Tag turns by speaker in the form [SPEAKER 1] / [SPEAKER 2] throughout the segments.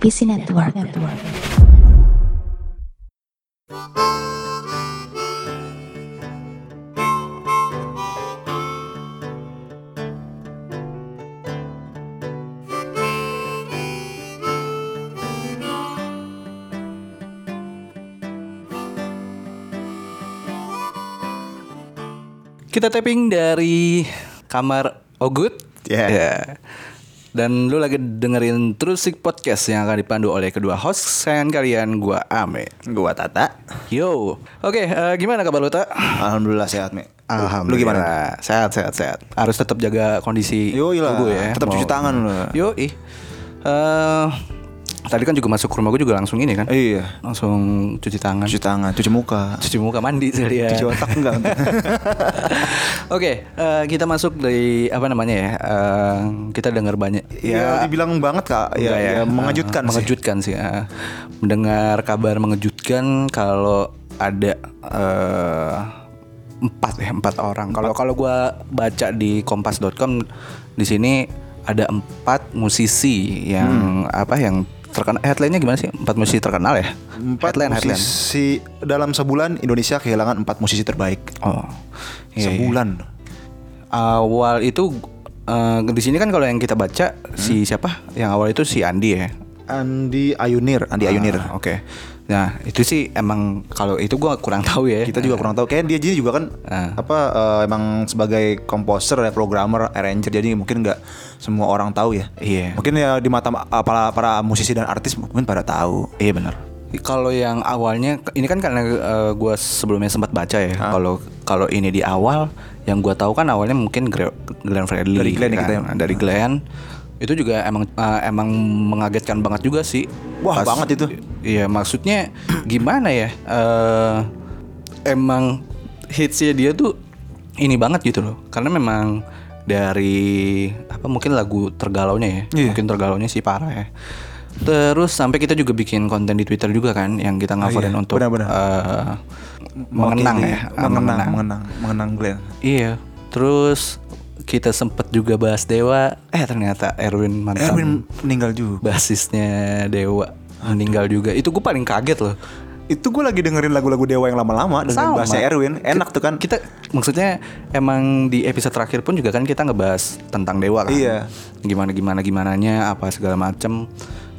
[SPEAKER 1] PC Network.
[SPEAKER 2] Kita tapping dari kamar Ogut. Iya.
[SPEAKER 3] Ya.
[SPEAKER 2] Dan lu lagi dengerin True Sick Podcast yang akan dipandu oleh kedua host sayang kalian, gua Ame.
[SPEAKER 3] Gua Tata.
[SPEAKER 2] Yo. Oke, eh, gimana kabar lu, Tak?
[SPEAKER 3] Alhamdulillah sehat, Mi. Lu- Lu gimana?
[SPEAKER 2] gimana? Sehat, sehat, sehat. Harus tetap jaga kondisi
[SPEAKER 3] Yoi lah,
[SPEAKER 2] tubuh ya.
[SPEAKER 3] tetap cuci tangan lu.
[SPEAKER 2] Yo, ih. tadi kan juga masuk ke rumah gue juga langsung ini kan.
[SPEAKER 3] Iya.
[SPEAKER 2] Langsung cuci tangan.
[SPEAKER 3] Cuci tangan, cuci muka,
[SPEAKER 2] cuci muka mandi sekalian.
[SPEAKER 3] cuci otak enggak.
[SPEAKER 2] Oke, eh, kita masuk dari apa namanya ya? eh, kita dengar banyak
[SPEAKER 3] ya, dibilang banget Kak. Ya,
[SPEAKER 2] enggak
[SPEAKER 3] ya, mengejutkan
[SPEAKER 2] Eh,
[SPEAKER 3] sih.
[SPEAKER 2] mengejutkan sih. eh. mendengar kabar mengejutkan kalau ada eh, empat ya empat orang. Kalau kalau gua baca di kompas.com di sini ada empat musisi yang
[SPEAKER 3] Hmm.
[SPEAKER 2] apa yang terkenal headline-nya gimana sih? Empat musisi terkenal ya?
[SPEAKER 3] Empat
[SPEAKER 2] headline headline.
[SPEAKER 3] musisi dalam sebulan Indonesia kehilangan empat musisi terbaik.
[SPEAKER 2] Oh. iya, iya.
[SPEAKER 3] sebulan.
[SPEAKER 2] awal itu eh, di sini kan kalau yang kita baca
[SPEAKER 3] Hmm?
[SPEAKER 2] si siapa yang awal itu si Andi ya
[SPEAKER 3] Andi Ayunir, Andi Ayunir.
[SPEAKER 2] Ah, oke nah itu sih emang kalau itu gua kurang tahu ya
[SPEAKER 3] Kita juga kurang tahu. Kayaknya dia jadi juga kan
[SPEAKER 2] Ah.
[SPEAKER 3] apa eh, emang sebagai komposer, ya, programmer, arranger. Jadi mungkin nggak semua orang tahu ya.
[SPEAKER 2] Iya.
[SPEAKER 3] Mungkin ya di mata ma- para para musisi dan artis mungkin pada tahu.
[SPEAKER 2] iya benar kalau yang awalnya ini kan karena eh, gua sebelumnya sempat baca ya
[SPEAKER 3] Ah.
[SPEAKER 2] kalau kalau ini di awal yang gua tahu kan awalnya mungkin Gre- Glenn Fredly
[SPEAKER 3] Dari Glenn ya
[SPEAKER 2] kan.
[SPEAKER 3] kita ya.
[SPEAKER 2] Nah, dari Glenn itu juga emang eh, emang mengagetkan banget juga sih
[SPEAKER 3] Wah,
[SPEAKER 2] Pas-
[SPEAKER 3] banget itu.
[SPEAKER 2] Iya maksudnya gimana ya eh Emang hitsnya dia tuh ini banget gitu loh Karena memang dari apa mungkin lagu tergalaunya ya
[SPEAKER 3] Iya.
[SPEAKER 2] Mungkin tergalaunya sih parah ya Terus sampai kita juga bikin konten di Twitter juga kan Yang kita ngafarin
[SPEAKER 3] iya.
[SPEAKER 2] untuk
[SPEAKER 3] Benar-benar.
[SPEAKER 2] eh, Mengenang
[SPEAKER 3] Mewakili-
[SPEAKER 2] ya Ah,
[SPEAKER 3] mengenang, mengenang, mengenang Glenn.
[SPEAKER 2] Iya Terus kita sempet juga bahas Dewa Eh ternyata Erwin mantap
[SPEAKER 3] Erwin meninggal juga.
[SPEAKER 2] Basisnya Dewa meninggal juga Itu gue paling kaget loh
[SPEAKER 3] Itu gue lagi dengerin lagu-lagu Dewa yang lama-lama dengan
[SPEAKER 2] Sama.
[SPEAKER 3] bahasa Erwin. Enak tuh kan.
[SPEAKER 2] kita maksudnya emang di episode terakhir pun juga kan kita ngebahas tentang dewa kan
[SPEAKER 3] Iya.
[SPEAKER 2] gimana gimana gimananya apa segala macem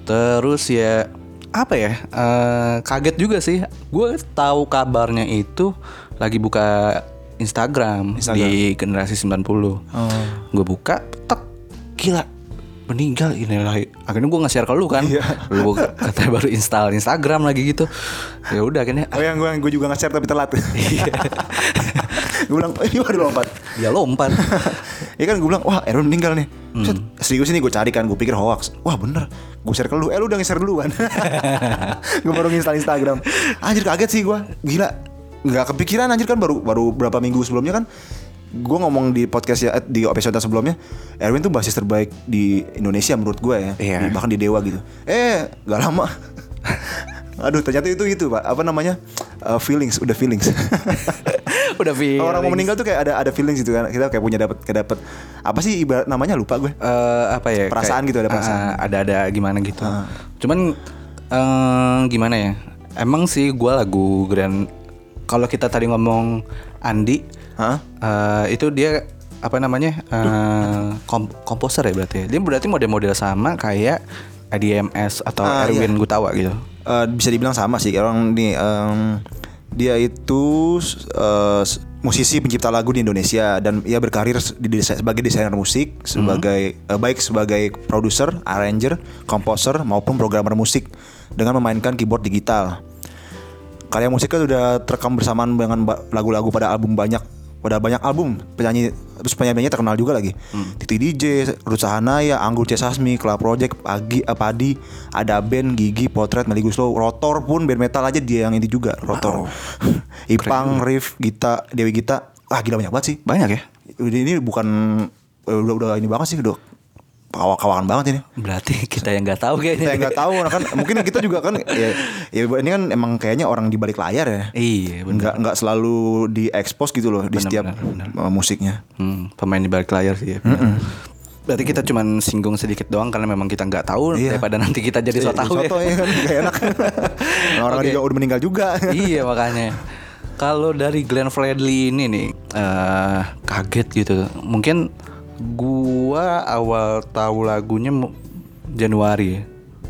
[SPEAKER 2] terus ya apa ya eh, kaget juga sih gue tahu kabarnya itu lagi buka Instagram, di generasi 90
[SPEAKER 3] Oh.
[SPEAKER 2] gue buka tek gila meninggal inilah akhirnya gue nge-share ke lu kan
[SPEAKER 3] Iya.
[SPEAKER 2] lu katanya baru install Instagram lagi gitu ya udah akhirnya
[SPEAKER 3] Oh yang gue gue juga nge-share tapi telat.
[SPEAKER 2] Iya.
[SPEAKER 3] gue bilang, eh ini baru lompat.
[SPEAKER 2] dia lompat
[SPEAKER 3] Ya kan gue bilang, wah Erwin meninggal nih. Set, Serius ini gue cari kan, gue pikir hoax. Wah bener, gue share ke lu. Eh lu udah nge-share duluan. gue baru install Instagram. Anjir kaget sih gue, gila. Gak kepikiran anjir kan baru baru berapa minggu sebelumnya kan gue ngomong di podcast ya eh, di episode sebelumnya Erwin tuh basis terbaik di Indonesia menurut gue ya
[SPEAKER 2] Iya.
[SPEAKER 3] Di- bahkan di Dewa gitu eh gak lama aduh ternyata itu itu pak apa namanya Eh, feelings udah feelings
[SPEAKER 2] udah feeling.
[SPEAKER 3] Kalau orang mau meninggal tuh kayak ada ada feelings gitu kan. Kita kayak punya dapat kayak dapat apa sih ibarat namanya lupa gue.
[SPEAKER 2] Eh, apa ya eh,
[SPEAKER 3] Perasaan gitu, ada perasaan. Ah.
[SPEAKER 2] ada ada gimana gitu cuman eh, gimana ya emang sih gua lagu grand kalau kita tadi ngomong Andi
[SPEAKER 3] Hah?
[SPEAKER 2] eh, itu dia apa namanya eh, kom- komposer ya berarti ya? dia berarti model-model sama kayak ADMS atau
[SPEAKER 3] Ah,
[SPEAKER 2] Erwin Gutawa gitu
[SPEAKER 3] Eh, bisa dibilang sama sih orang nih em, dia itu eh, s- musisi pencipta lagu di Indonesia dan ia berkarir s- di desa- sebagai desainer musik sebagai eh, baik sebagai produser, arranger, komposer maupun programmer musik dengan memainkan keyboard digital. Karya musiknya sudah terekam bersamaan dengan ba- lagu-lagu pada album banyak pada banyak album penyanyi terus penyanyinya terkenal juga lagi Titi DJ, Ruth Sahanaya, Anggur C Sasmi, Club Project, Pagi, eh, Padi, ada band Gigi, Potret, Melly Guslow, Rotor pun band metal aja dia yang ini juga Rotor, Ipang, Rif, Gita, Dewi Gita, ah gila banyak banget sih.
[SPEAKER 2] banyak ya
[SPEAKER 3] Ini ini bukan eh, udah udah ini banget sih udah kawak-kawakan banget ini
[SPEAKER 2] berarti kita yang nggak tahu kayaknya
[SPEAKER 3] kita yang nggak tahu nah kan mungkin kita juga kan ya, ya ini kan emang kayaknya orang di balik layar ya
[SPEAKER 2] iya bener
[SPEAKER 3] nggak nggak selalu diekspos gitu loh di setiap
[SPEAKER 2] benar, benar.
[SPEAKER 3] uh, musiknya
[SPEAKER 2] Hmm, pemain di balik layar sih ya. bener. Berarti kita cuman singgung sedikit doang karena memang kita nggak tahu
[SPEAKER 3] Iya.
[SPEAKER 2] daripada nanti kita jadi so tahu
[SPEAKER 3] Soto ya kan gak enak. Orang
[SPEAKER 2] Oke.
[SPEAKER 3] juga udah meninggal juga.
[SPEAKER 2] iya makanya. Kalau dari Glenn Fredly ini nih eh kaget gitu. Mungkin gua awal tahu lagunya mu- Januari.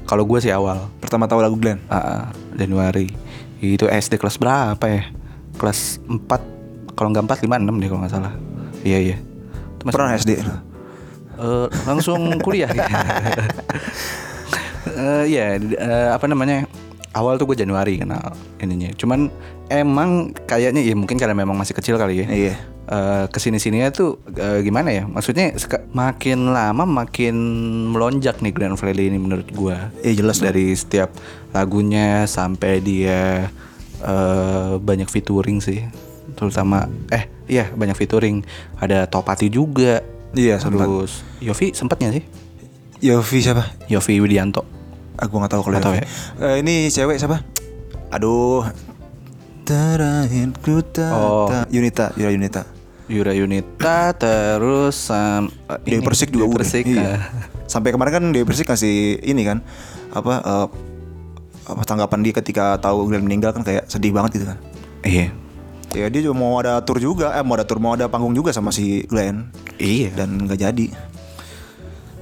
[SPEAKER 2] Kalau gua sih awal
[SPEAKER 3] Pertama tahu lagu Glenn.
[SPEAKER 2] Ah, Januari. Itu SD kelas berapa ya? Kelas 4 kalau nggak 4 5 6 deh kalau nggak salah. Iya iya. Itu masih-
[SPEAKER 3] Pernah SD.
[SPEAKER 2] Eh, langsung kuliah. Eh, ya, eh, apa namanya? Awal tuh gue Januari kenal ininya. Cuman emang kayaknya ya mungkin karena memang masih kecil kali ya.
[SPEAKER 3] Iya.
[SPEAKER 2] Eh, kesini-sininya tuh eh, gimana ya? Maksudnya seka- makin lama makin melonjak nih Grand Valley ini menurut gua. Nah.
[SPEAKER 3] Iya, jelas dong.
[SPEAKER 2] dari setiap lagunya sampai dia eh, banyak featuring sih. Terutama eh iya banyak featuring. Ada Topati juga.
[SPEAKER 3] Iya, sempat.
[SPEAKER 2] Terus Yofi sempat nggak sih?
[SPEAKER 3] Yofi siapa?
[SPEAKER 2] Yofi Widianto.
[SPEAKER 3] Aku nggak tahu kalau
[SPEAKER 2] Nggak tahu ya?
[SPEAKER 3] Yofi. Eh, ini cewek siapa? Aduh. Terakhir ku tak
[SPEAKER 2] Oh.
[SPEAKER 3] tak- Yunita, Yura Yunita.
[SPEAKER 2] Yura Yunita terus sam- eh,
[SPEAKER 3] Dewi
[SPEAKER 2] ini,
[SPEAKER 3] Persik juga
[SPEAKER 2] Dewi
[SPEAKER 3] udah.
[SPEAKER 2] Persik.
[SPEAKER 3] Iya.
[SPEAKER 2] eh.
[SPEAKER 3] Sampai kemarin kan Dewi Persik ngasih ini kan apa eh, apa tanggapan dia ketika tahu Glenn meninggal kan kayak sedih banget gitu kan.
[SPEAKER 2] Iya.
[SPEAKER 3] Ya dia juga mau ada tour juga, eh mau ada tour mau ada panggung juga sama si Glenn
[SPEAKER 2] Iya.
[SPEAKER 3] dan nggak jadi.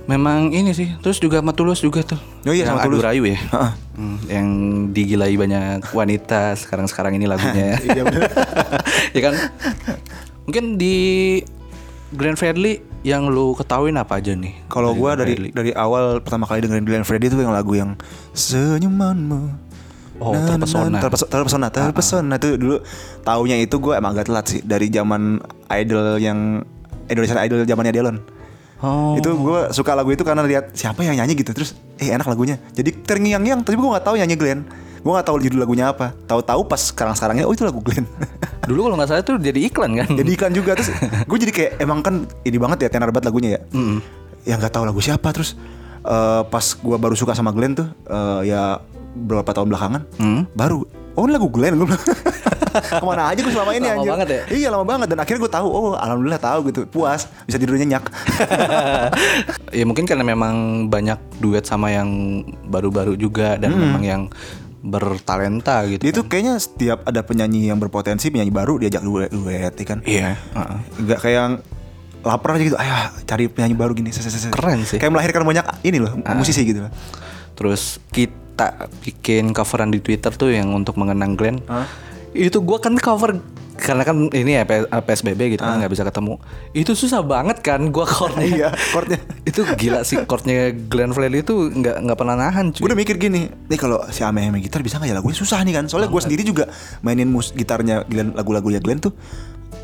[SPEAKER 2] Memang ini sih. Terus juga sama Tulus juga tuh.
[SPEAKER 3] Oh iya,
[SPEAKER 2] yang
[SPEAKER 3] sama Tulus.
[SPEAKER 2] Rayu ya.
[SPEAKER 3] Heeh.
[SPEAKER 2] Hmm, yang digilai banyak wanita sekarang-sekarang ini lagunya.
[SPEAKER 3] Iya bener.
[SPEAKER 2] ya kan? Mungkin di Grand Fredly yang lu ketahuin apa aja nih?
[SPEAKER 3] Kalau gua
[SPEAKER 2] Grand
[SPEAKER 3] dari
[SPEAKER 2] Fredly?
[SPEAKER 3] dari awal pertama kali dengerin Glenn Fredly itu yang lagu yang senyumanmu.
[SPEAKER 2] Oh, terpesona. Ah,
[SPEAKER 3] terpesona terpesona terpesona itu dulu taunya itu gue emang agak telat sih dari zaman idol yang Indonesian Idol zamannya Delon.
[SPEAKER 2] Oh.
[SPEAKER 3] Itu gue suka lagu itu karena lihat siapa yang nyanyi gitu terus eh enak lagunya. Jadi terngiang-ngiang tapi gue nggak tahu nyanyi Glenn. Gue nggak tahu judul lagunya apa. Tahu-tahu pas sekarang-sekarangnya oh itu lagu Glenn.
[SPEAKER 2] Dulu kalau nggak salah tuh jadi iklan kan?
[SPEAKER 3] jadi ikan juga terus gue jadi kayak emang kan ini banget ya tenar banget lagunya ya yang nggak tahu lagu siapa terus eh, pas gue baru suka sama Glenn tuh eh, ya berapa tahun belakangan
[SPEAKER 2] Mm.
[SPEAKER 3] baru oh ini lagu Glenn gue kemana aja gue selama ini
[SPEAKER 2] Lama
[SPEAKER 3] anjir.
[SPEAKER 2] banget ya?
[SPEAKER 3] iya lama banget dan akhirnya gue tahu oh alhamdulillah tahu gitu puas bisa tidur nyenyak
[SPEAKER 2] ya mungkin karena memang banyak duet sama yang baru-baru juga dan
[SPEAKER 3] Hmm.
[SPEAKER 2] memang yang bertalenta gitu.
[SPEAKER 3] dia tuh kayaknya setiap ada penyanyi yang berpotensi penyanyi baru diajak duet duet ya kan
[SPEAKER 2] Iya. heeh.
[SPEAKER 3] nggak kayak yang lapar aja gitu ayo cari penyanyi baru gini ses, ses, ses.
[SPEAKER 2] Keren sih. Ah.
[SPEAKER 3] kayak melahirkan banyak ini loh musisi gitu loh
[SPEAKER 2] Terus kita bikin coveran di Twitter tuh yang untuk mengenang Glenn. Itu gua kan cover karena kan ini ya P- PSBB gitu kan nggak bisa ketemu. Itu susah banget kan gua chordnya.
[SPEAKER 3] Iya, chordnya.
[SPEAKER 2] itu gila sih chordnya Glenn Fredly itu nggak nggak pernah nahan
[SPEAKER 3] Gue
[SPEAKER 2] cuy.
[SPEAKER 3] udah mikir gini, nih kalau si Ame main gitar bisa nggak ya lagunya susah nih kan? Soalnya gue sendiri juga mainin mus gitarnya Glenn, lagu-lagunya Glenn tuh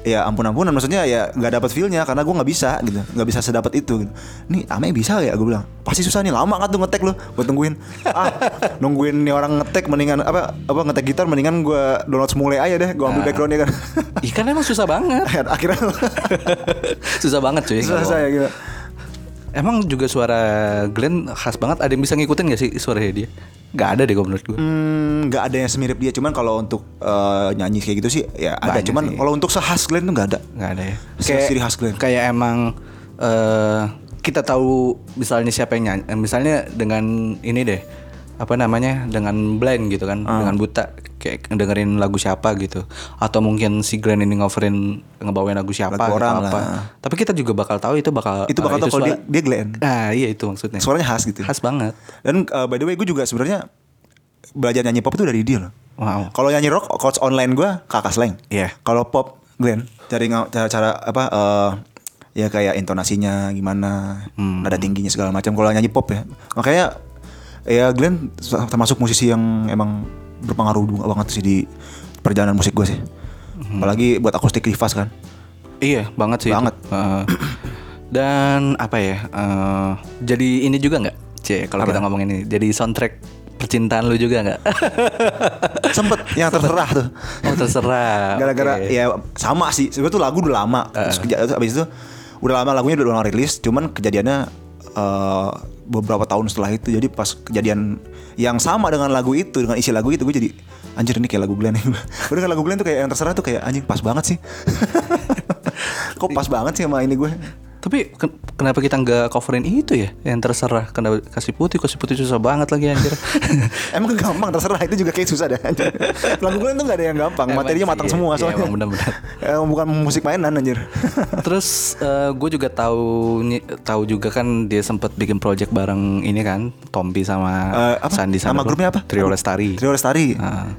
[SPEAKER 3] ya ampun ampunan maksudnya ya nggak dapat feelnya karena gue nggak bisa gitu nggak bisa sedapat itu gitu. nih Ame bisa nggak ya gue bilang pasti susah nih lama kan tuh ngetek lo gue tungguin ah nungguin nih orang ngetek mendingan apa apa ngetek gitar mendingan gue download semule aja deh gue ambil backgroundnya kan
[SPEAKER 2] Ih kan emang susah banget.
[SPEAKER 3] akhirnya
[SPEAKER 2] susah banget cuy.
[SPEAKER 3] susah
[SPEAKER 2] kalau-
[SPEAKER 3] saya gitu
[SPEAKER 2] Emang juga suara Glenn khas banget. Ada yang bisa ngikutin gak sih suaranya dia? Gak ada deh kalau menurut gue.
[SPEAKER 3] Hmm, nggak ada yang semirip dia. Cuman kalau untuk eh, nyanyi kayak gitu sih, ya ada.
[SPEAKER 2] Banyak
[SPEAKER 3] Cuman
[SPEAKER 2] sih.
[SPEAKER 3] kalau untuk sehas Glenn tuh nggak ada.
[SPEAKER 2] Gak ada ya.
[SPEAKER 3] Ciri khas Glenn.
[SPEAKER 2] Kayak emang eh kita tahu misalnya siapa yang nyanyi. eh, Misalnya dengan ini deh apa namanya dengan blind gitu kan
[SPEAKER 3] Ah.
[SPEAKER 2] dengan buta kayak dengerin lagu siapa gitu atau mungkin si Glenn ini ngoverin ngebawain lagu siapa atau
[SPEAKER 3] Lagu orang
[SPEAKER 2] apa
[SPEAKER 3] lah.
[SPEAKER 2] tapi kita juga bakal tahu itu bakal
[SPEAKER 3] Itu
[SPEAKER 2] eh,
[SPEAKER 3] bakal tau kalau dia,
[SPEAKER 2] suara-
[SPEAKER 3] dia Glenn.
[SPEAKER 2] nah iya itu maksudnya
[SPEAKER 3] Suaranya khas gitu.
[SPEAKER 2] khas banget
[SPEAKER 3] Dan eh, by the way, gue juga sebenarnya belajar nyanyi pop itu dari dia loh.
[SPEAKER 2] wow
[SPEAKER 3] Nah, Kalau nyanyi rock, coach online gue kakak slang.
[SPEAKER 2] Iya.
[SPEAKER 3] Kalau pop Glenn, cari nga- cara cara apa? eh, ya kayak intonasinya gimana, nada tingginya segala macam. Kalau nyanyi pop ya, makanya ya Glenn termasuk musisi yang emang berpengaruh banget sih di perjalanan musik gue sih. Apalagi buat akustik rivas kan.
[SPEAKER 2] Iya banget sih. itu.
[SPEAKER 3] Banget.
[SPEAKER 2] Heeh. dan apa ya? eh, jadi ini juga nggak, C? Kalau kita ngomongin ini, jadi soundtrack percintaan lu juga nggak?
[SPEAKER 3] sempet yang terserah tuh
[SPEAKER 2] oh terserah.
[SPEAKER 3] gara-gara
[SPEAKER 2] Oke. Ah,
[SPEAKER 3] ya sama sih sebetulnya tuh lagu udah lama terus keja- terus abis itu udah lama lagunya udah ulang rilis cuman kejadiannya eh, beberapa tahun setelah itu jadi pas kejadian yang sama dengan lagu itu dengan isi lagu itu gue jadi anjir ini kayak lagu Glenn gue dengan lagu Glenn tuh kayak yang terserah tuh kayak anjing pas banget sih kok pas banget sih sama ini gue
[SPEAKER 2] Tapi ken- kenapa kita nggak coverin itu ya? Yang terserah kenapa kasih putih, kasih putih susah banget lagi anjir.
[SPEAKER 3] Emang gampang terserah itu juga kayak susah dah. Lagu-lagu itu gak ada yang gampang.
[SPEAKER 2] Emang
[SPEAKER 3] Materinya
[SPEAKER 2] sih,
[SPEAKER 3] matang
[SPEAKER 2] iya.
[SPEAKER 3] semua
[SPEAKER 2] Iya,
[SPEAKER 3] soalnya.
[SPEAKER 2] emang benar-benar.
[SPEAKER 3] Emang bukan musik mainan anjir.
[SPEAKER 2] Terus gue juga tahu tahu juga kan dia sempat bikin project bareng ini kan Tompi sama
[SPEAKER 3] Eh, apa?
[SPEAKER 2] Sandi Sandoro.
[SPEAKER 3] Nama grupnya apa?
[SPEAKER 2] Trio Lestari.
[SPEAKER 3] Trio Lestari.
[SPEAKER 2] Nah,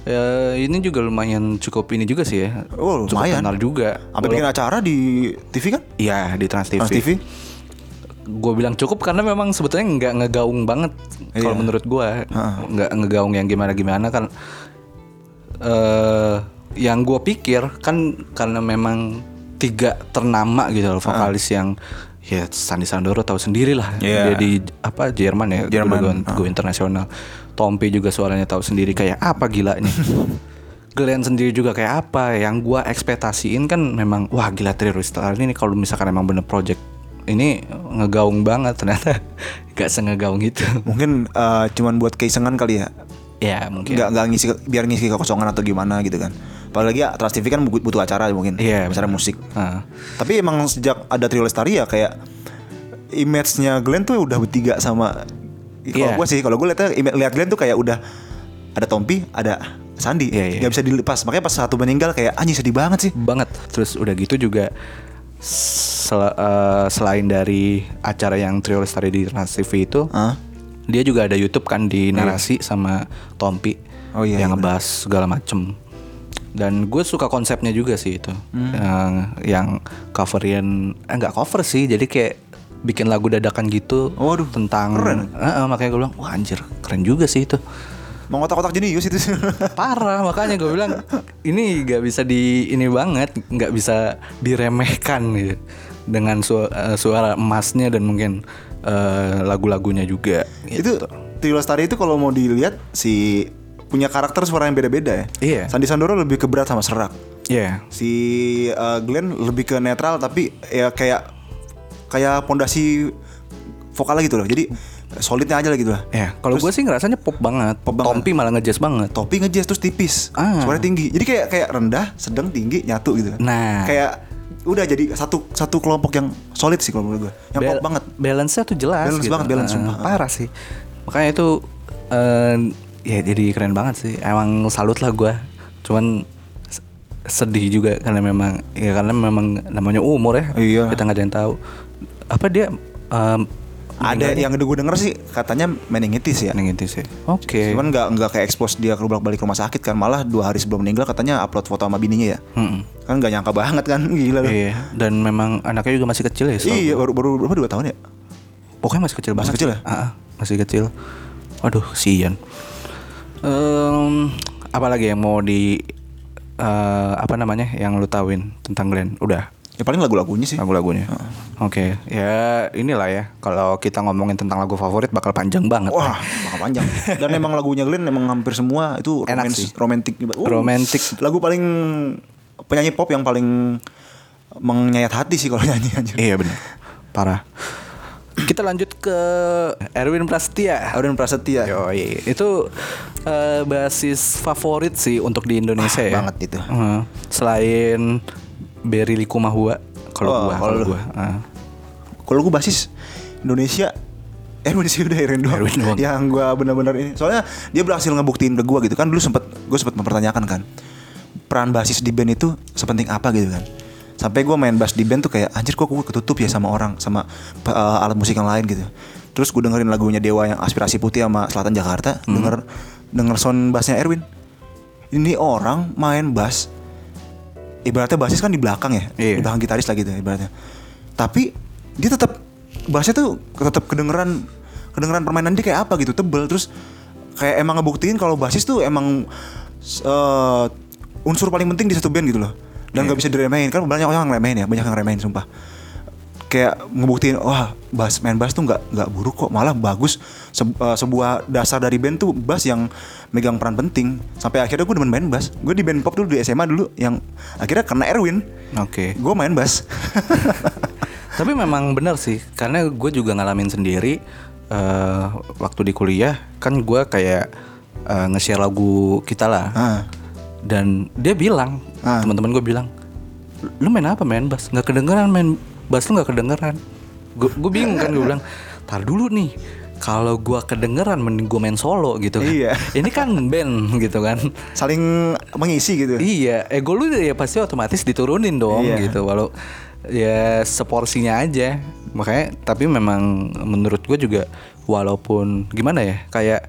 [SPEAKER 2] ya, ini juga lumayan cukup ini juga sih ya.
[SPEAKER 3] Oh,
[SPEAKER 2] cukup
[SPEAKER 3] lumayan.
[SPEAKER 2] Kenal juga.
[SPEAKER 3] Sampai bikin acara di TV kan?
[SPEAKER 2] Iya di Trans TV.
[SPEAKER 3] Trans TV.
[SPEAKER 2] Gue bilang cukup karena memang sebetulnya nggak ngegaung banget kalau
[SPEAKER 3] Iya.
[SPEAKER 2] menurut gue. Nggak ngegaung yang gimana gimana kan. eh yang gue pikir kan karena memang tiga ternama gitu loh vokalis yang ya Sandi Sandoro tahu sendiri lah
[SPEAKER 3] Iya.
[SPEAKER 2] dia di apa Jerman ya
[SPEAKER 3] Jerman,
[SPEAKER 2] udah go- go internasional Tompi juga suaranya tahu sendiri kayak apa gila ini Glenn sendiri juga kayak apa yang gua ekspektasiin kan memang wah gila Tri Lestari ini kalau misalkan emang bener project ini ngegaung banget ternyata gak sengegaung itu
[SPEAKER 3] Mungkin eh, cuman buat keisengan kali ya.
[SPEAKER 2] ya mungkin
[SPEAKER 3] Nggak nggak ngisi biar ngisi kekosongan atau gimana gitu kan. Apalagi ya, Trans TV kan bu- butuh acara mungkin.
[SPEAKER 2] Iya,
[SPEAKER 3] Acara musik.
[SPEAKER 2] Ah.
[SPEAKER 3] Tapi emang sejak ada Trio Lestari ya kayak image-nya Glenn tuh udah bertiga sama
[SPEAKER 2] Iya.
[SPEAKER 3] kalau gue sih kalau gue lihat lihat Glenn tuh kayak udah ada Tompi, ada Sandi,
[SPEAKER 2] Iya, iya.
[SPEAKER 3] nggak bisa dilepas. Makanya pas satu meninggal kayak anjing sedih banget sih.
[SPEAKER 2] banget terus udah gitu juga sel- eh, selain dari acara yang Trio Lestari di Trans TV itu
[SPEAKER 3] Hah?
[SPEAKER 2] dia juga ada YouTube kan di narasi sama Tompi
[SPEAKER 3] iya. Oh iya,
[SPEAKER 2] yang
[SPEAKER 3] iya
[SPEAKER 2] ngebahas segala macem dan gue suka konsepnya juga sih itu
[SPEAKER 3] Hmm.
[SPEAKER 2] yang yang coverin eh, nggak cover sih jadi kayak bikin lagu dadakan gitu
[SPEAKER 3] Waduh,
[SPEAKER 2] tentang
[SPEAKER 3] keren.
[SPEAKER 2] Eh, eh, makanya gue bilang wah anjir keren juga sih itu
[SPEAKER 3] Mau otak-otak jenius itu.
[SPEAKER 2] parah makanya gue bilang ini nggak bisa di ini banget nggak bisa diremehkan gitu dengan su- eh, suara emasnya dan mungkin eh, lagu-lagunya juga gitu.
[SPEAKER 3] itu Trio Lestari itu kalau mau dilihat si punya karakter suara yang beda-beda ya.
[SPEAKER 2] Iya.
[SPEAKER 3] Sandi Sandoro lebih ke berat sama serak.
[SPEAKER 2] Iya.
[SPEAKER 3] Si uh, Glenn lebih ke netral tapi ya kayak kayak pondasi vokalnya gitu loh. Jadi solidnya aja lah gitu lah.
[SPEAKER 2] Ya, kalau gue sih ngerasanya pop banget.
[SPEAKER 3] Pop banget.
[SPEAKER 2] Tompi malah ngejazz banget.
[SPEAKER 3] Topi ngejazz terus tipis,
[SPEAKER 2] Ah.
[SPEAKER 3] suaranya tinggi. Jadi kayak kayak rendah, sedang, tinggi, nyatu gitu.
[SPEAKER 2] Nah.
[SPEAKER 3] Kayak udah jadi satu satu kelompok yang solid sih kalau menurut gue. Yang pop
[SPEAKER 2] Bal-
[SPEAKER 3] banget.
[SPEAKER 2] Balance-nya tuh jelas
[SPEAKER 3] Balance banget, balance,
[SPEAKER 2] Eh,
[SPEAKER 3] sumpah.
[SPEAKER 2] Parah sih. Makanya itu eh, ya jadi keren banget sih. Emang salut lah gue. Cuman s- sedih juga karena memang ya karena memang namanya umur ya.
[SPEAKER 3] Iya.
[SPEAKER 2] Kita nggak ada yang tahu. Apa dia eh, em,
[SPEAKER 3] Ada yang gue denger sih katanya meningitis ya.
[SPEAKER 2] yang itu sih. Oke.
[SPEAKER 3] Cuman nggak nggak kayak expose dia ke bolak balik rumah sakit kan malah dua hari sebelum meninggal katanya upload foto sama bininya ya
[SPEAKER 2] Mm-mm.
[SPEAKER 3] kan nggak nyangka banget kan gila loh.
[SPEAKER 2] Hmm. Iya. Dan memang anaknya juga masih kecil ya. setahu
[SPEAKER 3] Iya baru baru berapa dua tahun ya?
[SPEAKER 2] Pokoknya masih kecil banget.
[SPEAKER 3] kecil
[SPEAKER 2] sih.
[SPEAKER 3] ya?
[SPEAKER 2] Ah, ah, masih kecil. Waduh, sian. Em, apalagi yang mau di eh, apa namanya yang lu tahuin tentang Glenn? Udah
[SPEAKER 3] Ya paling lagu-lagunya sih.
[SPEAKER 2] lagu-lagunya. Oke, ya inilah ya. Kalau kita ngomongin tentang lagu favorit bakal panjang banget.
[SPEAKER 3] Wah bakal panjang. Dan emang lagunya Glenn emang hampir semua itu
[SPEAKER 2] Enak
[SPEAKER 3] romance,
[SPEAKER 2] sih.
[SPEAKER 3] romantik. Uh,
[SPEAKER 2] Romantic.
[SPEAKER 3] Lagu paling penyanyi pop yang paling menyayat hati sih kalau nyanyi anjir.
[SPEAKER 2] Iya benar. Parah. Kita lanjut ke Erwin Prastia.
[SPEAKER 3] Auden Prasetya.
[SPEAKER 2] Yoi, itu eh, basis favorit sih untuk di Indonesia
[SPEAKER 3] Ah,
[SPEAKER 2] ya.
[SPEAKER 3] banget itu.
[SPEAKER 2] Heeh. selain Berry Likumahua kalau
[SPEAKER 3] Oh,
[SPEAKER 2] gua,
[SPEAKER 3] kalau
[SPEAKER 2] kalau
[SPEAKER 3] lu.
[SPEAKER 2] gua. ah.
[SPEAKER 3] Kalau gue basis Indonesia Eh Indonesia udah Erwin doang,
[SPEAKER 2] Erwin doang.
[SPEAKER 3] Yang gue bener-bener ini Soalnya dia berhasil ngebuktiin ke gue gitu kan Dulu sempet Gue sempet mempertanyakan kan Peran basis di band itu Sepenting apa gitu kan Sampai gue main bass di band tuh kayak Anjir kok gue ketutup ya sama orang Sama uh, alat musik yang lain gitu Terus gue dengerin lagunya Dewa yang Aspirasi Putih sama Selatan Jakarta
[SPEAKER 2] Hmm.
[SPEAKER 3] Denger Denger sound bassnya Erwin Ini orang main bass ibaratnya basis kan di belakang ya,
[SPEAKER 2] Iya.
[SPEAKER 3] di belakang gitaris lah gitu ibaratnya. Tapi dia tetap bassnya tuh tetap kedengeran kedengeran permainan dia kayak apa gitu, tebel terus kayak emang ngebuktiin kalau basis tuh emang s- eh, unsur paling penting di satu band gitu loh. Dan nggak bisa diremehin kan banyak orang yang remehin ya, banyak yang remehin sumpah. Kayak ngebuktiin wah bass main bass tuh nggak nggak buruk kok, malah bagus Se- eh, sebuah dasar dari band tuh bass yang megang peran penting. Sampai akhirnya gue demen main bass. Gue di band pop dulu di SMA dulu yang akhirnya karena Erwin
[SPEAKER 2] Oke.
[SPEAKER 3] gue Eh, main bass
[SPEAKER 2] Tapi memang benar sih, karena gue juga ngalamin sendiri eh, waktu di kuliah kan gue kayak eh, nge-share lagu kita lah.
[SPEAKER 3] Ah.
[SPEAKER 2] Dan dia bilang,
[SPEAKER 3] Ah.
[SPEAKER 2] teman-teman gue bilang, lu main apa main bass? Nggak kedengeran main bass lu nggak kedengeran gue gue bingung kan gue bilang tar dulu nih kalau gua kedengeran mending gue main solo gitu kan
[SPEAKER 3] Iya.
[SPEAKER 2] ini kan band gitu kan
[SPEAKER 3] saling mengisi gitu
[SPEAKER 2] Iya, ego lu ya pasti otomatis diturunin dong
[SPEAKER 3] Iya.
[SPEAKER 2] gitu. Walau ya seporsinya aja. Makanya tapi memang menurut gue juga walaupun gimana ya, kayak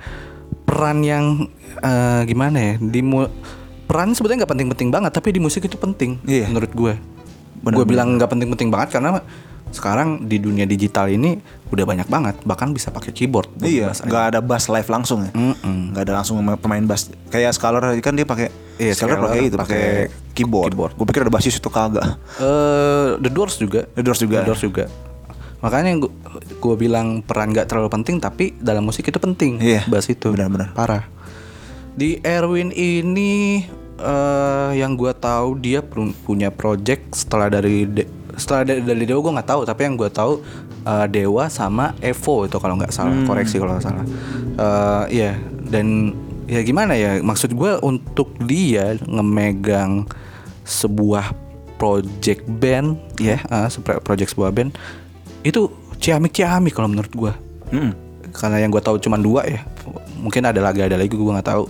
[SPEAKER 2] peran yang eh, gimana ya, di mu- peran sebetulnya nggak penting-penting banget, tapi di musik itu penting
[SPEAKER 3] Iya.
[SPEAKER 2] menurut gue. Gue bilang nggak penting-penting banget karena sekarang di dunia digital ini udah banyak banget, bahkan bisa pakai keyboard.
[SPEAKER 3] Iya,
[SPEAKER 2] Bahasa-
[SPEAKER 3] nggak ada bass live langsung ya.
[SPEAKER 2] Mm-mm.
[SPEAKER 3] Nggak ada langsung pemain bass. Kayak Scholar kan dia pakai
[SPEAKER 2] Iya,
[SPEAKER 3] Scholar
[SPEAKER 2] Scholar
[SPEAKER 3] pakai itu,
[SPEAKER 2] pakai
[SPEAKER 3] pakai keyboard.
[SPEAKER 2] keyboard.
[SPEAKER 3] Gue pikir ada bassis itu kagak.
[SPEAKER 2] eh The Doors juga.
[SPEAKER 3] The Doors juga.
[SPEAKER 2] The Doors juga. Makanya gua, gua bilang peran nggak terlalu penting tapi dalam musik itu penting.
[SPEAKER 3] Iya,
[SPEAKER 2] Bass itu.
[SPEAKER 3] benar-benar.
[SPEAKER 2] Parah. Di Erwin ini eh yang gua tahu dia pru- punya project setelah dari De- setelah dari, dari Dewa gua nggak tahu tapi yang gua tahu eh, Dewa sama Evo itu kalau nggak salah koreksi kalau nggak salah. Eh iya dan ya gimana ya maksud gua untuk dia ngemegang sebuah project band ya eh, sepro- project sebuah band itu ciamik ciamik kalau menurut gua
[SPEAKER 3] Mm.
[SPEAKER 2] karena yang gua tahu cuma dua ya mungkin ada lagi ada lagi gua nggak tahu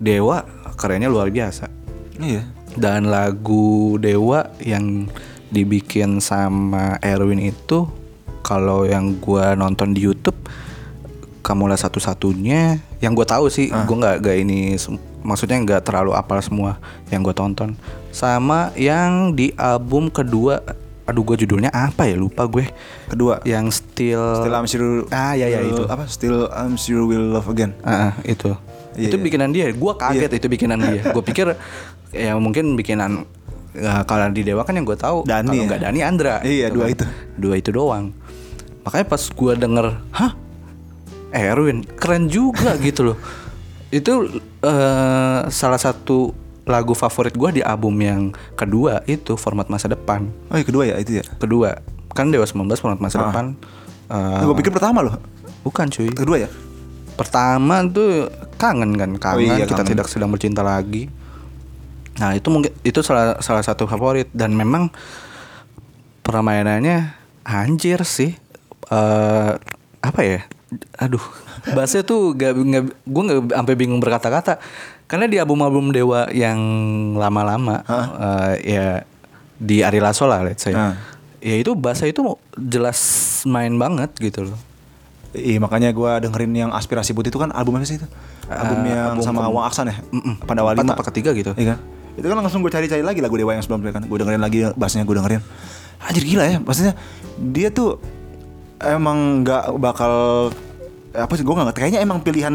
[SPEAKER 2] dewa kerennya luar biasa
[SPEAKER 3] Iya.
[SPEAKER 2] dan lagu dewa yang dibikin sama Erwin itu kalau yang gua nonton di YouTube kamulah satu-satunya yang gua tahu sih gua nggak nggak ini sem- maksudnya nggak terlalu apal semua yang gua tonton sama yang di album kedua aduh gua judulnya apa ya lupa gue
[SPEAKER 3] Kedua,
[SPEAKER 2] yang still
[SPEAKER 3] Still I'm Sure.
[SPEAKER 2] Ah, iya, iya, itu.
[SPEAKER 3] Apa? Still I'm Sure Will Love Again.
[SPEAKER 2] Ah, ah, itu.
[SPEAKER 3] Iya,
[SPEAKER 2] itu
[SPEAKER 3] iya.
[SPEAKER 2] bikinan dia. Gua kaget itu bikinan dia. Gue pikir ya mungkin bikinan ya, kalau di Dewa kan yang gue tahu
[SPEAKER 3] Dani
[SPEAKER 2] kalau
[SPEAKER 3] ya.
[SPEAKER 2] nggak Dani Andra.
[SPEAKER 3] Iya, dua
[SPEAKER 2] kan.
[SPEAKER 3] itu.
[SPEAKER 2] Dua itu doang. Makanya pas gua denger, "Hah? Eh, Erwin, keren juga gitu loh." Itu eh, salah satu lagu favorit gua di album yang kedua itu format masa depan.
[SPEAKER 3] Oh, yang kedua ya itu ya.
[SPEAKER 2] Kedua. Kan Dewa 19 format masa
[SPEAKER 3] Ah.
[SPEAKER 2] depan. eh,
[SPEAKER 3] Gue pikir pertama loh.
[SPEAKER 2] bukan cuy.
[SPEAKER 3] Kedua ya.
[SPEAKER 2] Pertama tuh kangen kan, kangen
[SPEAKER 3] Oh iya,
[SPEAKER 2] kita
[SPEAKER 3] kangen.
[SPEAKER 2] tidak sedang bercinta lagi. Nah, itu mungkin itu salah salah satu favorit dan memang permainannya anjir sih. Eh apa ya? Aduh, bahasnya tuh gak, gak gue nggak sampai bingung berkata-kata karena di album-album Dewa yang lama-lama eh, ya di Ari Lasso lah let's say.
[SPEAKER 3] Hah.
[SPEAKER 2] Ya itu bahasa itu jelas main banget gitu loh.
[SPEAKER 3] Iya makanya gue dengerin yang aspirasi putih itu kan album apa sih itu? Ah, Album yang sama Wang Aksan ya? Pandawali
[SPEAKER 2] Empat apa ketiga gitu.
[SPEAKER 3] Iya kan? Itu kan langsung gue cari-cari lagi lagu Dewa yang sebelumnya kan. Gue dengerin lagi bassnya gue dengerin. Anjir gila ya, maksudnya dia tuh emang nggak bakal apa sih gue nggak ngerti. kayaknya emang pilihan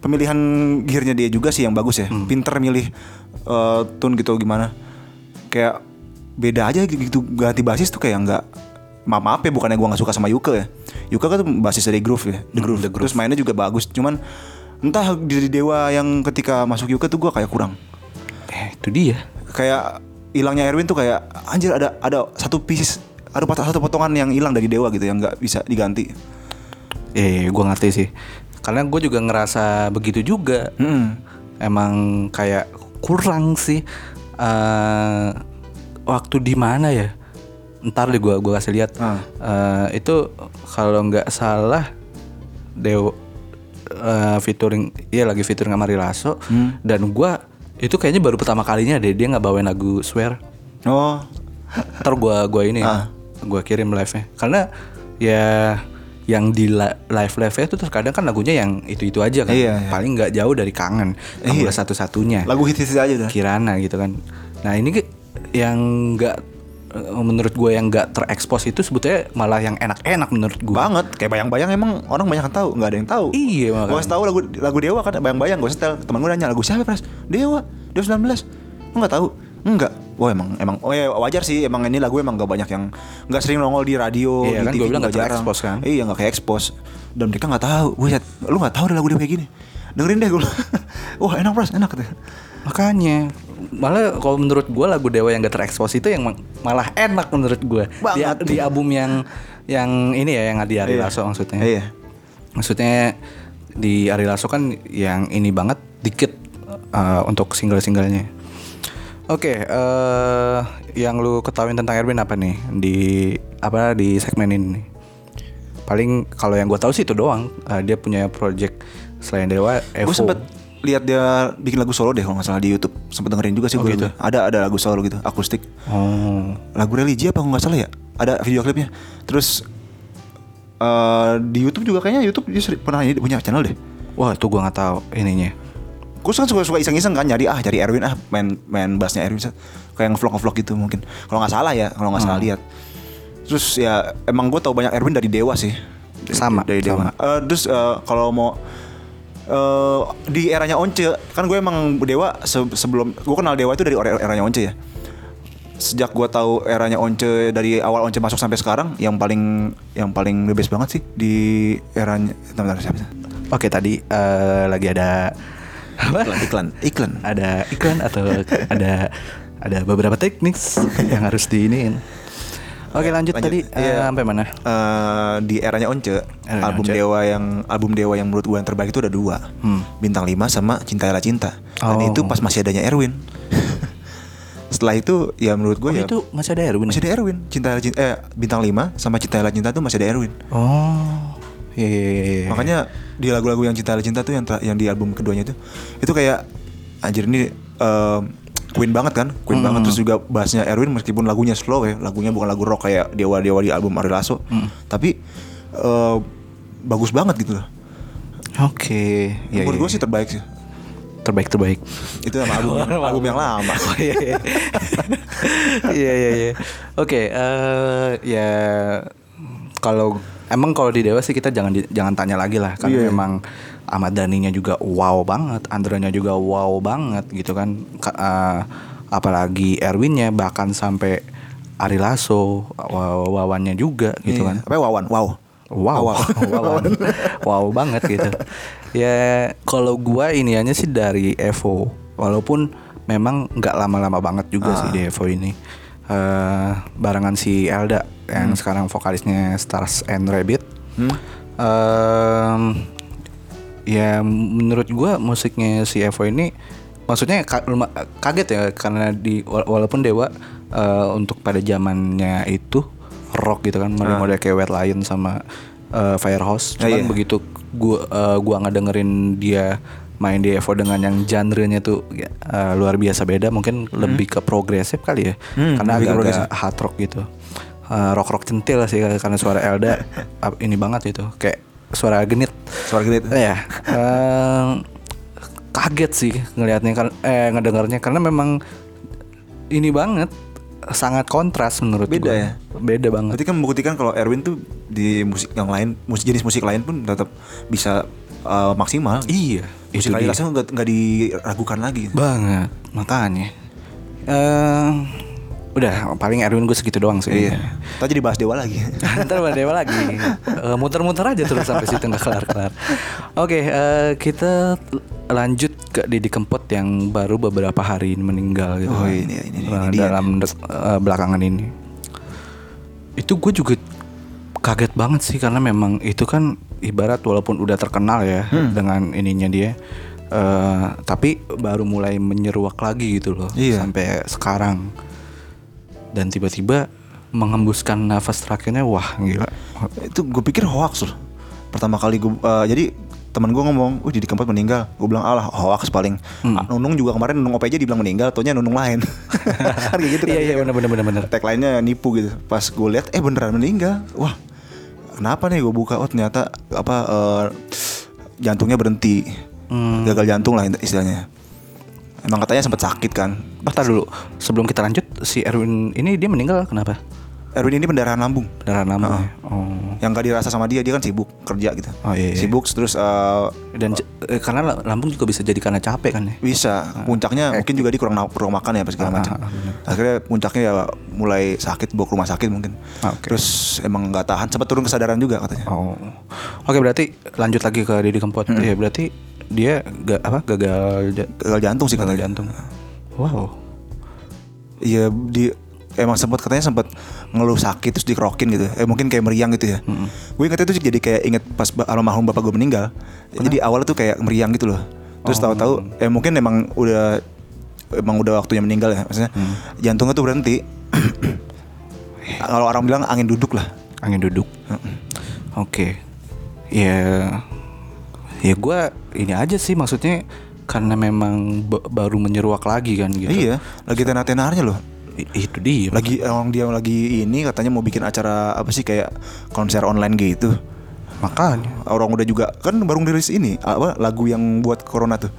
[SPEAKER 3] pemilihan gearnya dia juga sih yang bagus ya. Pinter milih eh, tune gitu gimana. Kayak beda aja gitu ganti basis tuh kayak nggak maaf maaf ya bukannya gue nggak suka sama Yuka ya Yuka kan tuh basis dari groove ya the groove. terus mainnya juga bagus cuman entah di di Dewa yang ketika masuk Yuka tuh gue kayak kurang
[SPEAKER 2] Eh, itu dia.
[SPEAKER 3] kayak hilangnya Erwin tuh kayak anjir ada ada satu piece ada pot- satu potongan yang hilang dari dewa gitu yang nggak bisa diganti.
[SPEAKER 2] Eh, gue ngerti sih. Karena gue juga ngerasa begitu juga.
[SPEAKER 3] Mm-mm.
[SPEAKER 2] Emang kayak kurang sih. eh waktu di mana ya? Ntar deh gue gua kasih lihat.
[SPEAKER 3] Ah.
[SPEAKER 2] Eh, itu kalau nggak salah Dewa eh, featuring, iya lagi featuring sama Ari Lasso. Dan gue itu kayaknya baru pertama kalinya deh dia nggak bawain lagu swear.
[SPEAKER 3] Oh,
[SPEAKER 2] ntar gua gua ini
[SPEAKER 3] Ah.
[SPEAKER 2] gua kirim live nya karena ya yang di live live nya itu terkadang kan lagunya yang itu itu aja kan
[SPEAKER 3] Iya, iya.
[SPEAKER 2] paling nggak jauh dari kangen kamu
[SPEAKER 3] Iya.
[SPEAKER 2] udah satu satunya
[SPEAKER 3] lagu hits hits aja udah.
[SPEAKER 2] kirana gitu kan nah ini ke- yang nggak eh, menurut gue yang nggak terekspos itu sebetulnya malah yang enak-enak menurut gue
[SPEAKER 3] Banget, kayak bayang-bayang emang orang banyak yang tahu, nggak ada yang tahu.
[SPEAKER 2] Iya, makanya.
[SPEAKER 3] Gue tahu lagu lagu Dewa kan, bayang-bayang gue setel. Temen gue nanya lagu siapa pres? Dewa, Dewa 19 Lu nggak tahu? Enggak. Wah emang emang oh ya wajar sih emang ini lagu emang gak banyak yang nggak sering nongol di radio
[SPEAKER 2] Iya,
[SPEAKER 3] di
[SPEAKER 2] kan
[SPEAKER 3] TV
[SPEAKER 2] gua bilang nggak
[SPEAKER 3] nggak jarang.
[SPEAKER 2] terekspos kan.
[SPEAKER 3] Iya nggak kayak expose dan mereka nggak tahu. Gue lu nggak tahu ada lagu Dewa kayak gini. Dengerin deh gue. Wah enak pres, enak deh.
[SPEAKER 2] makanya malah kalau menurut gue lagu dewa yang gak terekspos itu yang malah enak menurut gue di,
[SPEAKER 3] Banget.
[SPEAKER 2] di album yang yang ini ya yang di Ari
[SPEAKER 3] Iya.
[SPEAKER 2] Lasso maksudnya
[SPEAKER 3] Iya.
[SPEAKER 2] maksudnya di Ari Lasso kan yang ini banget dikit uh, untuk eh, single-singlenya Oke, eh, yang lu ketahuin tentang Erwin apa nih di apa di segmen ini? Paling kalau yang gue tahu sih itu doang. Eh, dia punya project selain Dewa, Evo.
[SPEAKER 3] Gue sempet lihat dia bikin lagu solo deh kalau nggak salah di YouTube. Sempet dengerin juga sih gue gitu. Ada ada lagu solo gitu, akustik.
[SPEAKER 2] Oh,
[SPEAKER 3] Lagu religi apa kalau nggak salah ya? Ada video klipnya. Terus eh di YouTube juga kayaknya YouTube dia seri- pernah ini punya channel deh.
[SPEAKER 2] wah itu gue nggak tahu ininya.
[SPEAKER 3] Gue kan suka suka iseng-iseng kan nyari ah cari Erwin ah main main bassnya Erwin kayak ngevlog ngevlog gitu mungkin. Kalau nggak salah ya, kalau nggak salah
[SPEAKER 2] Hmm.
[SPEAKER 3] lihat. Terus ya emang gue tau banyak Erwin dari Dewa sih. Dari-
[SPEAKER 2] Sama,
[SPEAKER 3] dari
[SPEAKER 2] sama.
[SPEAKER 3] Dewa. Eh, terus eh, kalau mau eh, di eranya Once kan gue emang Dewa se- sebelum gue kenal Dewa itu dari era- eranya Once ya. Sejak gue tahu eranya Once dari awal Once masuk sampai sekarang yang paling yang paling the best banget sih di eranya teman-teman siapa? sih?
[SPEAKER 2] Oke tadi eh, lagi ada apa?
[SPEAKER 3] Iklan, iklan.
[SPEAKER 2] ada iklan atau ada ada beberapa teknik yang harus diinin. Oke lanjut,
[SPEAKER 3] Lanjut.
[SPEAKER 2] tadi eh,
[SPEAKER 3] Iya.
[SPEAKER 2] sampai mana?
[SPEAKER 3] eh di eranya Once
[SPEAKER 2] Eranya
[SPEAKER 3] album
[SPEAKER 2] Once. Hmm.
[SPEAKER 3] Dewa yang album Dewa yang menurut gue yang terbaik itu ada dua bintang 5 sama Cintalah Cinta dan
[SPEAKER 2] Oh.
[SPEAKER 3] itu pas masih adanya Erwin setelah itu ya menurut gue
[SPEAKER 2] Oh,
[SPEAKER 3] ya
[SPEAKER 2] itu masih ada Erwin.
[SPEAKER 3] masih ada Erwin Cintalah Cinta eh bintang 5 sama Cintalah Cinta itu masih ada Erwin
[SPEAKER 2] Oh, iya iya iya. iya.
[SPEAKER 3] makanya di lagu-lagu yang Cintalah Cinta tuh yang ter- yang di album keduanya itu itu kayak anjir ini eh, Queen banget kan, Queen banget terus juga bahasnya Erwin meskipun lagunya slow ya, lagunya bukan lagu rock kayak Dewa Dewa di album Ari Lasso, tapi eh, bagus banget gitu loh.
[SPEAKER 2] Oke, iya,
[SPEAKER 3] Menurut
[SPEAKER 2] iya.
[SPEAKER 3] gue sih terbaik sih.
[SPEAKER 2] terbaik terbaik.
[SPEAKER 3] Itu sama album, yang- album yang lama.
[SPEAKER 2] Oh, iya iya. Iya iya iya. Oke, eh, ya kalau emang kalau di Dewa sih kita jangan di- jangan tanya lagi lah karena
[SPEAKER 3] Iya.
[SPEAKER 2] memang Ahmad Dhani-nya juga wow banget, Andrenya juga wow banget gitu kan. Ka- eh, apalagi Erwinnya bahkan sampai Ari Lasso, Waw- Wawannya juga gitu kan.
[SPEAKER 3] Apa ya, Wawan? Wow.
[SPEAKER 2] Wow, wow, wow banget gitu. Ya kalau gua iniannya sih dari Evo, walaupun memang nggak lama-lama banget juga sih di Evo ini. Eh, barengan si Elda yang sekarang vokalisnya Stars and Rabbit. Em, ya menurut gua musiknya si Evo ini maksudnya ka- luma- kaget ya karena di wala- walaupun Dewa eh, untuk pada zamannya itu rock gitu kan model-model kayak Wet Lion sama eh, Firehouse
[SPEAKER 3] Ah,
[SPEAKER 2] cuman
[SPEAKER 3] iya.
[SPEAKER 2] begitu gua eh, gua ngedengerin dia main di Evo dengan yang genre-nya tuh ya, eh, luar biasa beda mungkin lebih ke progresif kali ya karena
[SPEAKER 3] Hmm. lebih ke
[SPEAKER 2] agak-agak hard rock gitu Eh, rock-rock centil sih karena suara Elda ap- ini banget itu kayak suara genit
[SPEAKER 3] Suara gede. itu.
[SPEAKER 2] ya eh, kaget sih ngelihatnya kan eh ngedengarnya karena memang ini banget sangat kontras menurut
[SPEAKER 3] Beda
[SPEAKER 2] gua.
[SPEAKER 3] ya?
[SPEAKER 2] beda banget
[SPEAKER 3] Berarti kan membuktikan kalau Erwin tuh di musik yang lain, musik jenis musik lain pun tetap bisa eh, maksimal.
[SPEAKER 2] iya itu
[SPEAKER 3] Musik Ari
[SPEAKER 2] dia.
[SPEAKER 3] Lasso nggak nggak diragukan lagi.
[SPEAKER 2] banget makanya eh udah paling Erwin gue segitu doang sih
[SPEAKER 3] Iya. Tadi jadi bahas Dewa lagi.
[SPEAKER 2] Ntar Mbak Dewa lagi Eh, Muter-muter aja terus sampai situ nggak kelar-kelar Oke eh, kita lanjut ke Didi Kempot yang baru beberapa hari ini meninggal gitu
[SPEAKER 3] Oh,
[SPEAKER 2] kan.
[SPEAKER 3] ini- ini- ini
[SPEAKER 2] Eh,
[SPEAKER 3] dia.
[SPEAKER 2] Dalam dek- eh, belakangan ini Itu gue juga kaget banget sih karena memang itu kan ibarat walaupun udah terkenal ya
[SPEAKER 3] Hmm.
[SPEAKER 2] dengan ininya dia eh, tapi baru mulai menyeruak lagi gitu loh
[SPEAKER 3] Iya.
[SPEAKER 2] sampai sekarang dan tiba-tiba menghembuskan nafas terakhirnya wah gila
[SPEAKER 3] itu gue pikir hoax loh. Pertama kali gue jadi teman gue ngomong, "Wih, di keempat meninggal." Gue bilang, "Alah, hoax paling."
[SPEAKER 2] Hmm.
[SPEAKER 3] Ah, Nunung juga kemarin Nunung OPJ dibilang meninggal, taunya Nunung lain. kan kayak gitu kan.
[SPEAKER 2] iya iya bener bener bener bener
[SPEAKER 3] tagline-nya nipu gitu. Pas gue lihat eh beneran meninggal. Wah. Kenapa nih gue buka oh ternyata apa eh, jantungnya berhenti.
[SPEAKER 2] Hmm.
[SPEAKER 3] Gagal jantung lah istilahnya. Emang katanya sempat sakit kan.
[SPEAKER 2] Oh, tar dulu sebelum kita lanjut si Erwin ini dia meninggal kenapa
[SPEAKER 3] Erwin ini pendarahan lambung.
[SPEAKER 2] darah lama ya? oh
[SPEAKER 3] Yang gak dirasa sama dia, dia kan sibuk kerja gitu.
[SPEAKER 2] Oh, iya, iya.
[SPEAKER 3] Sibuk terus eh,
[SPEAKER 2] dan j- eh, karena la- lambung juga bisa jadi karena capek kan ya
[SPEAKER 3] bisa puncaknya
[SPEAKER 2] Eh.
[SPEAKER 3] mungkin juga dia kurang, na- kurang makan ya apa
[SPEAKER 2] Ah,
[SPEAKER 3] segala macam. Akhirnya puncaknya ya mulai sakit bawa ke rumah sakit mungkin.
[SPEAKER 2] Ah, oke.
[SPEAKER 3] Terus emang nggak tahan sempat turun kesadaran juga katanya.
[SPEAKER 2] oh oke berarti lanjut lagi ke Didi Kempot Iya berarti dia ga- apa gagal ja-
[SPEAKER 3] Gagal jantung sih katanya.
[SPEAKER 2] jantung wow
[SPEAKER 3] Iya di emang sempat katanya sempat ngeluh sakit terus dikerokin gitu. Eh mungkin kayak meriang gitu ya. Gue ingetnya tuh jadi kayak inget pas ba- almarhum bapak gue meninggal. Jadi awalnya tuh kayak meriang gitu loh. Terus tahu-tahu eh mungkin emang udah emang udah waktunya meninggal ya maksudnya jantungnya tuh berhenti kalau orang bilang angin duduk lah
[SPEAKER 2] angin duduk. Oke. Ya ya gua ini aja sih maksudnya karena memang ba- baru menyeruak lagi kan gitu. Iya,
[SPEAKER 3] iya lagi tenar-tenarnya loh
[SPEAKER 2] I- itu dia.
[SPEAKER 3] lagi orang dia lagi ini katanya mau bikin acara apa sih kayak konser online gitu
[SPEAKER 2] makanya.
[SPEAKER 3] orang udah juga kan baru ngerilis ini apa lagu yang buat corona tuh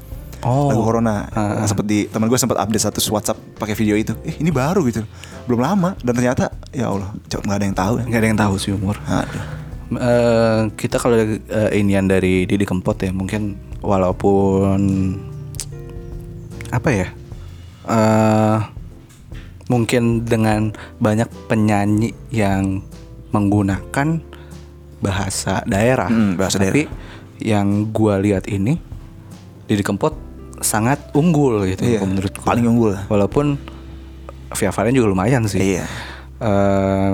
[SPEAKER 2] Oh.
[SPEAKER 3] lagu corona Nah, seperti teman gue sempat update status WhatsApp pakai video itu eh ini baru gitu belum lama dan ternyata ya Allah coba nggak ada yang tahu ya.
[SPEAKER 2] nggak ada yang tahu sih umur.
[SPEAKER 3] Aduh.
[SPEAKER 2] Eh, kita kalau eh, inian dari Didi Kempot ya mungkin walaupun apa ya eh mungkin dengan banyak penyanyi yang menggunakan bahasa daerah,
[SPEAKER 3] Hmm, bahasa
[SPEAKER 2] tapi yang gua lihat ini Didi Kempot sangat unggul gitu
[SPEAKER 3] Iya,
[SPEAKER 2] menurut gua.
[SPEAKER 3] paling unggul.
[SPEAKER 2] Walaupun Via Valen juga lumayan sih.
[SPEAKER 3] Iya.
[SPEAKER 2] Eh,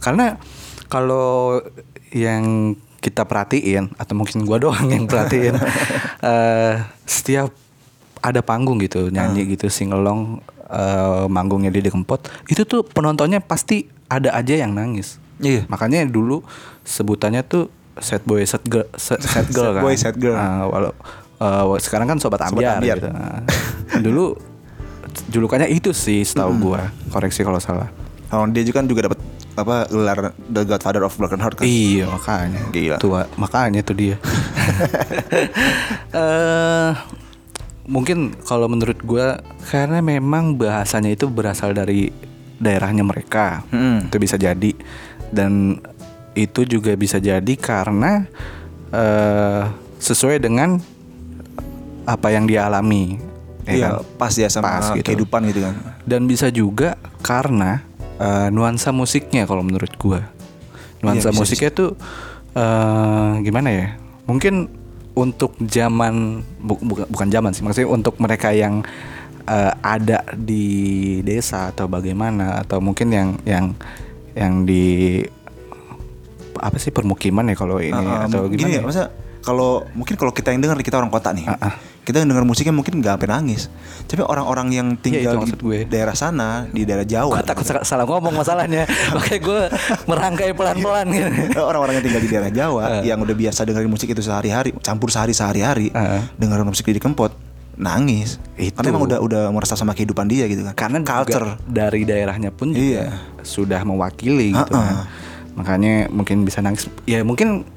[SPEAKER 2] karena kalau yang kita perhatiin atau mungkin gua doang yang perhatiin eh, setiap ada panggung gitu nyanyi gitu singelong eh, manggungnya di Kempot itu tuh penontonnya pasti ada aja yang nangis.
[SPEAKER 3] Iya.
[SPEAKER 2] Makanya dulu sebutannya tuh set boy set girl set, set girl
[SPEAKER 3] Sad
[SPEAKER 2] kan.
[SPEAKER 3] boy, sad girl.
[SPEAKER 2] Ah, walau eh, sekarang kan sobat ambiar,
[SPEAKER 3] ambiar.
[SPEAKER 2] gitu. Nah, dulu julukannya itu sih setahu gua. Koreksi kalau salah.
[SPEAKER 3] orang dia juga kan juga dapat apa gelar The Godfather of Broken Heart kan
[SPEAKER 2] Iya makanya.
[SPEAKER 3] Gila.
[SPEAKER 2] Tua makanya tuh dia. eh mungkin kalau menurut gua karena memang bahasanya itu berasal dari daerahnya mereka.
[SPEAKER 3] Mm-mm.
[SPEAKER 2] Itu bisa jadi dan itu juga bisa jadi karena eh sesuai dengan apa yang dia alami. ya
[SPEAKER 3] iya
[SPEAKER 2] kan?
[SPEAKER 3] pas ya sama
[SPEAKER 2] Pas gitu.
[SPEAKER 3] kehidupan gitu kan
[SPEAKER 2] dan bisa juga karena eh, nuansa musiknya kalau menurut gua nuansa
[SPEAKER 3] Iya, bisa,
[SPEAKER 2] musiknya tuh eh, gimana ya mungkin untuk zaman bu- bukan bukan zaman sih maksudnya untuk mereka yang eh, ada di desa atau bagaimana atau mungkin yang yang yang di apa sih permukiman ya kalau ini
[SPEAKER 3] Nah, um,
[SPEAKER 2] atau gimana ya?
[SPEAKER 3] gini ya,
[SPEAKER 2] Ah,
[SPEAKER 3] masa kalau mungkin kalau kita yang dengar kita orang kota nih kita yang dengar musiknya mungkin nggak sampai nangis tapi orang-orang yang tinggal di
[SPEAKER 2] Iya, maksud gue.
[SPEAKER 3] daerah sana di daerah Jawa
[SPEAKER 2] Gua takut salah ngomong masalahnya makanya gue merangkai pelan-pelan gitu
[SPEAKER 3] orang-orang yang tinggal di daerah Jawa
[SPEAKER 2] Ah.
[SPEAKER 3] yang udah biasa dengerin musik itu sehari-hari campur sehari sehari-hari
[SPEAKER 2] Heeh.
[SPEAKER 3] dengerin musik di kempot nangis
[SPEAKER 2] Itu.
[SPEAKER 3] karena emang udah udah merasa sama kehidupan dia gitu kan
[SPEAKER 2] karena juga
[SPEAKER 3] culture
[SPEAKER 2] dari daerahnya pun juga
[SPEAKER 3] Iya.
[SPEAKER 2] sudah mewakili gitu kan.
[SPEAKER 3] Ha-ha.
[SPEAKER 2] makanya mungkin bisa nangis ya mungkin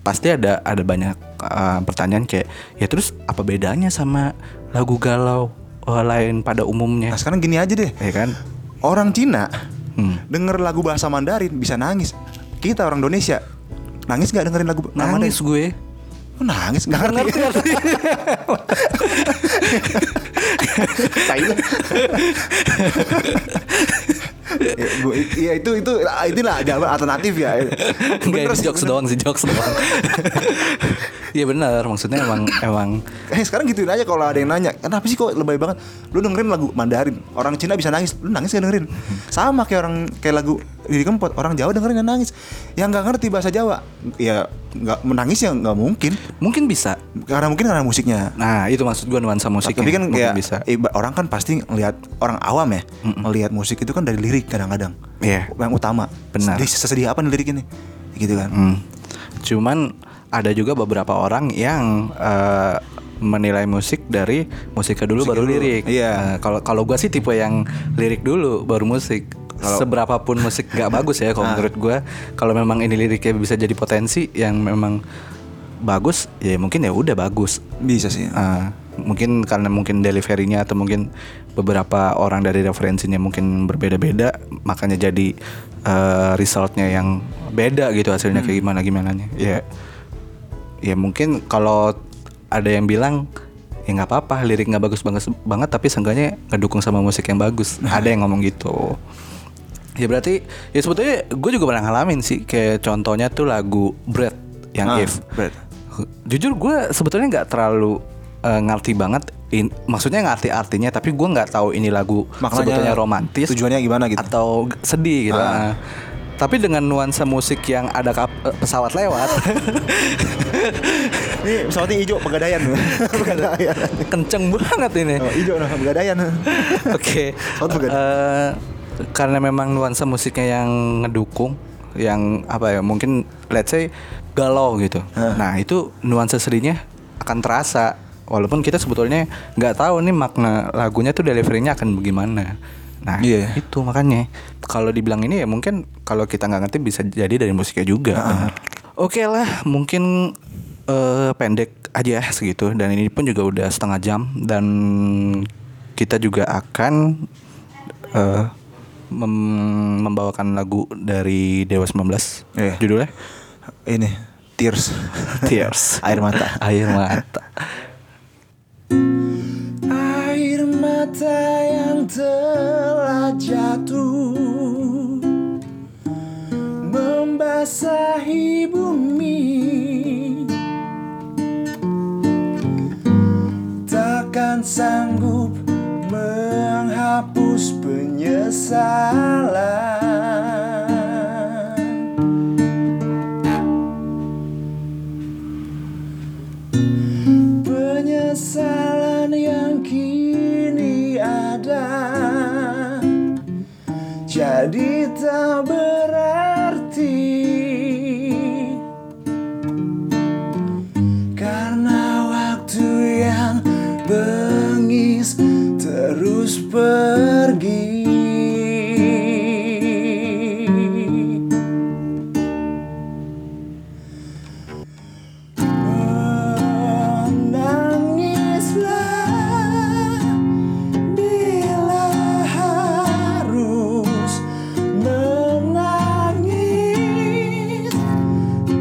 [SPEAKER 2] pasti ada ada banyak uh, pertanyaan kayak ya terus apa bedanya sama lagu galau uh, lain pada umumnya
[SPEAKER 3] nah sekarang gini aja deh
[SPEAKER 2] ya kan
[SPEAKER 3] orang Cina
[SPEAKER 2] Hmm.
[SPEAKER 3] denger lagu bahasa Mandarin bisa nangis kita orang Indonesia nangis nggak dengerin lagu bahasa Mandarin?
[SPEAKER 2] nangis gue
[SPEAKER 3] Lu nangis nggak ngerti
[SPEAKER 2] ngerti
[SPEAKER 3] tai lu. ya, gua- ya, itu itu itulah jawaban alternatif ya.
[SPEAKER 2] Enggak ini jokes
[SPEAKER 3] bener.
[SPEAKER 2] doang sih jokes doang Iya benar maksudnya emang emang
[SPEAKER 3] Eh sekarang gituin aja kalau ada yang nanya Kenapa sih kok lebay banget Lu dengerin lagu Mandarin Orang Cina bisa nangis Lu nangis gak dengerin Sama kayak orang Kayak lagu Didi Kempot Orang Jawa dengerin gak nangis Yang gak ngerti bahasa Jawa Ya gak, menangis ya gak mungkin
[SPEAKER 2] mungkin bisa
[SPEAKER 3] Karena mungkin karena musiknya
[SPEAKER 2] nah itu maksud gue nuansa musiknya
[SPEAKER 3] Tapi kan
[SPEAKER 2] mungkin
[SPEAKER 3] kayak
[SPEAKER 2] bisa
[SPEAKER 3] iba- Orang kan pasti ngelihat Orang awam ya Ngelihat musik itu kan dari lirik kadang-kadang
[SPEAKER 2] Iya.
[SPEAKER 3] Yang utama
[SPEAKER 2] Benar.
[SPEAKER 3] Sedih- Sesedih apa nih lirik ini Gitu kan
[SPEAKER 2] Hmm. Cuman ada juga beberapa orang yang eh, menilai musik dari musiknya dulu baru
[SPEAKER 3] dulu,
[SPEAKER 2] lirik.
[SPEAKER 3] iya.
[SPEAKER 2] Nah, Kalau kalau gue sih tipe yang lirik dulu baru musik. Seberapapun musik nggak bagus ya kalau
[SPEAKER 3] Ah.
[SPEAKER 2] menurut gue. Kalau memang ini liriknya bisa jadi potensi yang memang bagus, ya mungkin ya udah bagus.
[SPEAKER 3] Bisa sih
[SPEAKER 2] Ah, mungkin karena mungkin deliverynya atau mungkin beberapa orang dari referensinya mungkin berbeda-beda makanya jadi eh, resultnya yang beda gitu hasilnya kayak gimana gimana ya ya mungkin kalau ada yang bilang ya nggak apa-apa lirik nggak bagus banget banget tapi seenggaknya ngedukung sama musik yang bagus ada yang ngomong gitu ya berarti ya sebetulnya gue juga pernah ngalamin sih kayak contohnya tuh lagu Bread yang
[SPEAKER 3] Ah,
[SPEAKER 2] If
[SPEAKER 3] Bread.
[SPEAKER 2] jujur gue sebetulnya nggak terlalu eh, ngerti banget in- maksudnya ngerti artinya tapi gue nggak tahu ini lagu
[SPEAKER 3] Maknanya,
[SPEAKER 2] sebetulnya romantis
[SPEAKER 3] tujuannya gimana gitu.
[SPEAKER 2] atau g- sedih gitu Ah. Tapi dengan nuansa musik yang ada kap- eh, pesawat lewat,
[SPEAKER 3] Ini pesawatnya hijau pegadaian. pegadaian.
[SPEAKER 2] kenceng banget ini.
[SPEAKER 3] Oh, hijau nah, pegadaian.
[SPEAKER 2] Oke.
[SPEAKER 3] Pesawat pegadaian.
[SPEAKER 2] Eh, karena memang nuansa musiknya yang ngedukung, yang apa ya? Mungkin let's say galau gitu. Nah itu nuansa sedihnya akan terasa. Walaupun kita sebetulnya nggak tahu nih makna lagunya tuh deliverynya akan bagaimana. Nah
[SPEAKER 3] Iya.
[SPEAKER 2] itu makanya kalau dibilang ini ya mungkin kalau kita nggak ngerti bisa jadi dari musiknya juga. benar. Oke lah mungkin eh, pendek aja segitu dan ini pun juga udah setengah jam dan kita juga akan eh, mem- membawakan lagu dari Dewa 19
[SPEAKER 3] Iya.
[SPEAKER 2] judulnya
[SPEAKER 3] Ini tears.
[SPEAKER 2] Tears
[SPEAKER 3] Air mata.
[SPEAKER 2] Air Mata.
[SPEAKER 3] Air mata yang telah jatuh Membasahi bumi Takkan sanggup menghapus penyesalan penyesalan yang kini ada jadi tak berarti karena waktu yang bengis terus pergi Menangislah bila harus menangis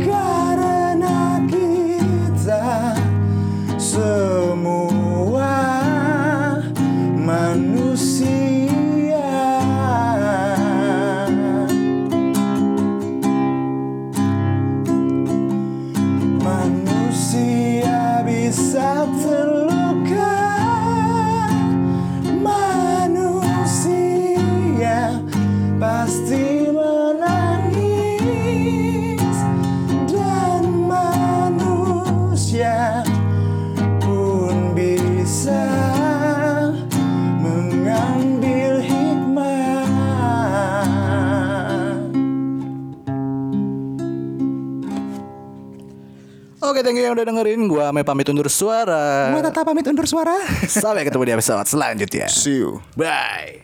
[SPEAKER 3] karena kita semua manusia. Manusia bisa terluka Manusia pasti menangis Dan manusia pun bisa mengambil hikmah
[SPEAKER 2] Oke, thank you yang udah dengerin. Gua Ame pamit undur suara.
[SPEAKER 3] Mata pamit undur suara
[SPEAKER 2] Sampai ketemu di episode selanjutnya.
[SPEAKER 3] See you
[SPEAKER 2] Bye.